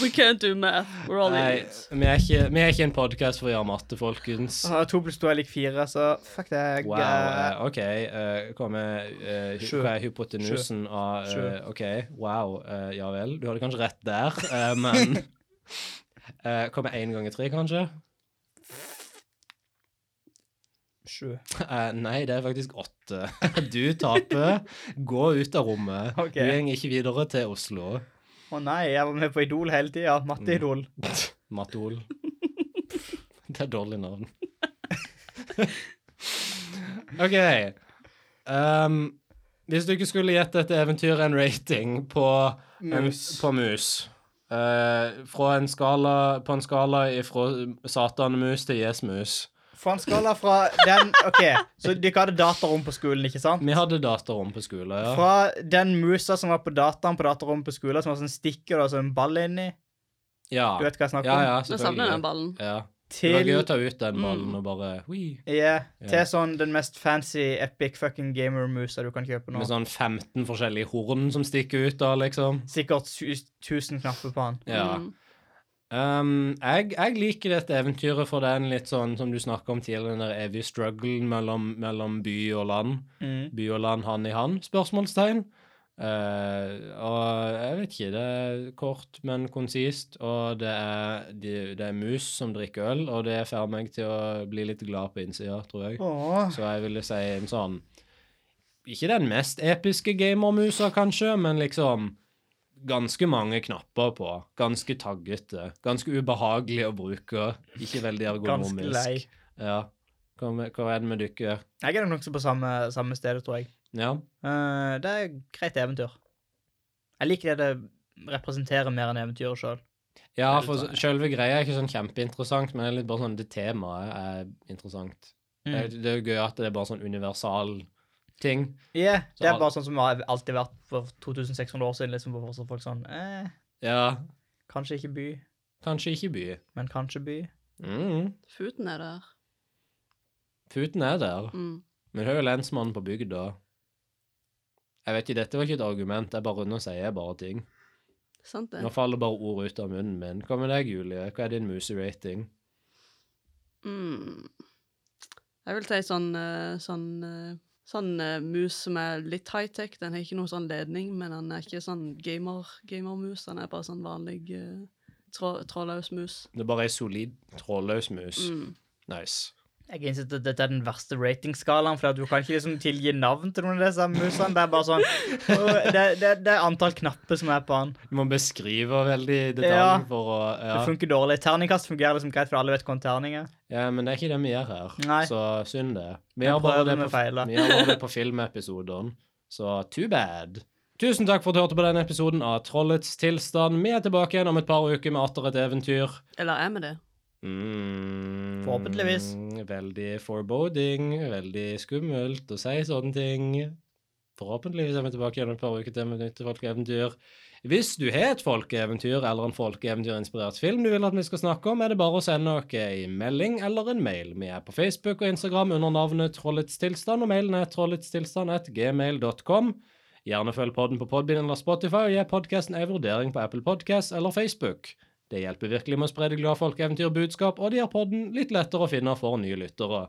Speaker 3: We can't do math. We're all
Speaker 2: Nei,
Speaker 3: idiots.
Speaker 2: vi er ikke, vi er ikke en podkast for å gjøre matte, folkens.
Speaker 1: Ah, To pluss to er lik fire, så fuck det. jeg,
Speaker 2: Wow.
Speaker 1: eh,
Speaker 2: eh, OK. eh, Hva med eh, hy-
Speaker 1: Sju.
Speaker 2: hva er hypotenusen av eh,
Speaker 1: Sju.
Speaker 2: OK, wow. eh, ja vel. Du hadde kanskje rett der, eh, men eh, Hva med én ganger tre, kanskje?
Speaker 1: Sju.
Speaker 2: Eh, nei, det er faktisk åtte. <laughs> Du taper. Gå ut av rommet.
Speaker 1: Ok.
Speaker 2: Du går ikke videre til Oslo.
Speaker 1: Å nei, jeg var med på Idol hele tida. Matteidol.
Speaker 2: <laughs> Matol. Det er dårlig navn. <laughs> OK. Um, hvis du ikke skulle gitt dette eventyret en rating på
Speaker 1: Mus.
Speaker 2: En, på mus. Eh, fra en skala, på en skala fra satanmus til jesmus.
Speaker 1: Fra en skala fra den OK, så dere hadde datarom på skolen, ikke sant?
Speaker 2: Vi hadde datarom på skolen, ja.
Speaker 1: Fra den musa som var på dataen på datarommet på skolen, som var sånn stikker og så en ball inni,
Speaker 2: ja.
Speaker 1: du vet hva jeg snakker
Speaker 2: ja, ja,
Speaker 3: Nå savner jeg Mm. den
Speaker 2: selvfølgelig.
Speaker 3: ballen.
Speaker 2: Ja. Det var
Speaker 1: om,
Speaker 2: gøy å
Speaker 1: til,
Speaker 2: ta ut den ballen og bare hui,
Speaker 1: ja, til
Speaker 2: Ja.
Speaker 1: sånn den mest fancy epic fucking gamer-musa du kan kjøpe nå.
Speaker 2: Med sånn 15 forskjellige horn som stikker ut da, liksom.
Speaker 1: Sikkert su- 1000 knapper på han.
Speaker 2: Ja.
Speaker 3: Mm.
Speaker 2: Um, jeg, jeg liker dette eventyret for den litt sånn som du snakka om tidligere, den der evige strugglen mellom, mellom by og land.
Speaker 1: Mm.
Speaker 2: By og land, hand i hand? Spørsmålstegn. Eh, og jeg vet ikke. Det er kort, men konsist. Og det er, de, det er mus som drikker øl, og det får meg til å bli litt glad på innsida, tror jeg.
Speaker 1: Åh.
Speaker 2: Så jeg ville si en sånn Ikke den mest episke gamermusa, kanskje, men liksom ganske mange knapper på. Ganske taggete. Ganske ubehagelig å bruke. Ikke veldig ergonomisk.
Speaker 1: Ganske lei.
Speaker 2: Ja. Hva, med- hva er det med dere?
Speaker 1: Jeg er nok nokså på samme, samme sted, tror jeg.
Speaker 2: Ja.
Speaker 1: Eh, det er et greit eventyr. Jeg liker det det representerer mer enn eventyret sjøl.
Speaker 2: Ja,
Speaker 1: Det er litt
Speaker 2: for
Speaker 1: sånn-
Speaker 2: så- selve greia er ikke sånn kjempeinteressant, men det er litt bare sånn det temaet er interessant.
Speaker 1: Mm.
Speaker 2: Det, det er jo gøy at det er bare sånn universal ting.
Speaker 1: Ja, det
Speaker 2: Så-
Speaker 1: er bare sånn som har alltid vært for 2600 år siden. liksom, hvor fortsatt folk sånn eh,
Speaker 2: Ja,
Speaker 1: Kanskje ikke by,
Speaker 2: kanskje ikke by.
Speaker 1: men kanskje by.
Speaker 2: Mm.
Speaker 3: Futen er der.
Speaker 2: Futen er der,
Speaker 3: Mm.
Speaker 2: men hun er jo lensmannen på bygda. Jeg vet ikke, dette var ikke et argument, jeg bare nå sier jeg bare ting.
Speaker 3: Sant det?
Speaker 2: Nå faller bare ord ut av munnen min. Hva med deg, Julie? Hva er din muserating?
Speaker 3: Mm. Jeg vil si sånn, eh, sånn, eh, sånn eh, mus som er litt high-tech. Den har ikke noe sånn ledning, men den er ikke sånn gamer, gamermus. Den er bare sånn vanlig eh, trå, trådløs mus.
Speaker 2: Det er bare ei solid, trådløs mus.
Speaker 3: Mm.
Speaker 2: Nice.
Speaker 1: Jeg innser at dette er den verste ratingskalaen, for at du kan ikke liksom tilgi navn til noen av disse musene. Det er bare sånn «Åh, det, det, det er antall knapper som er på han.
Speaker 2: Du må beskrive veldig i detalj
Speaker 1: Ja.
Speaker 2: for å ja.
Speaker 1: Det funker dårlig. Terningkast fungerer liksom greit, for alle vet hva en terning er.
Speaker 2: Ja, men det er ikke det vi gjør her,
Speaker 1: Nei.
Speaker 2: så synd det. Vi
Speaker 1: Men
Speaker 2: gjør bare
Speaker 1: prøver
Speaker 2: det
Speaker 1: vi
Speaker 2: på,
Speaker 1: feiler.
Speaker 2: vi gjør bare det på filmepisoden, så too bad. Tusen takk for at du hørte på denne episoden av Trollets tilstand. Vi er tilbake igjen om et par uker med atter et eventyr.
Speaker 3: Eller er vi det?
Speaker 2: Mm,
Speaker 1: Forhåpentligvis.
Speaker 2: Veldig foreboding, veldig skummelt å si sånne ting. Forhåpentligvis er vi tilbake igjen om et par uker til med et nytt folkeeventyr. Hvis du har et folkeeventyr eller en folkeeventyrinspirert film du vil at vi skal snakke om, er det bare å sende oss en melding eller en mail. Vi er på Facebook og Instagram under navnet Trollets tilstand, og mailen er trolletstilstand.gmail.com. Gjerne følg podden på Podbean eller Spotify, og gi podkasten en vurdering på Apple Podcasts eller Facebook. Det hjelper virkelig med å spre det glade folkeeventyrbudskap, og det gjør podden litt lettere å finne for nye lyttere.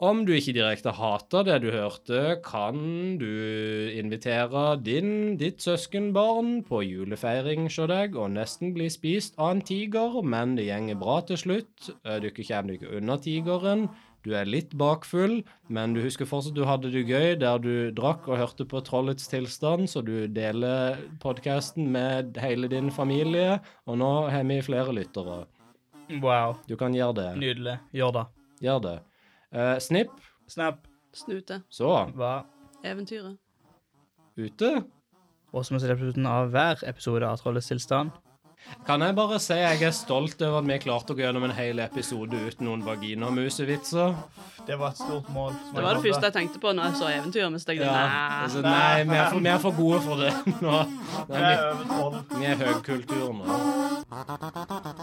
Speaker 2: Om du ikke direkte hater det du hørte, kan du invitere din, ditt søskenbarn på julefeiring hos deg og nesten bli spist av en tiger, men det gjenger bra til slutt. Eh, Du kommer deg ikke unna tigeren. Du er litt bakfull, men du husker fortsatt du hadde det gøy der du drakk og hørte på Trollets tilstand, så du deler podkasten med hele din familie, og nå har vi flere lyttere.
Speaker 1: Wow.
Speaker 2: Du kan gjøre det.
Speaker 1: Nydelig. Gjør det.
Speaker 2: Gjør det. Eh, snipp.
Speaker 1: Snap.
Speaker 3: Snute.
Speaker 2: Så.
Speaker 1: Hva?
Speaker 3: Eventyret.
Speaker 2: Ute.
Speaker 1: Og som er episoden av hver episode av Trollets tilstand.
Speaker 2: Kan jeg bare si jeg er stolt over at vi klarte å gå gjennom en hel episode uten noen vaginamusevitser?
Speaker 1: Det var et stort mål.
Speaker 3: Det var det første jeg tenkte på når jeg så eventyret. Men så tenkte jeg
Speaker 2: Ja.
Speaker 3: nei.
Speaker 2: Altså, nei, vi er, for, vi er for gode for det <laughs> nå. Nei,
Speaker 1: over tolv.
Speaker 2: vi, vi er høykultur nå.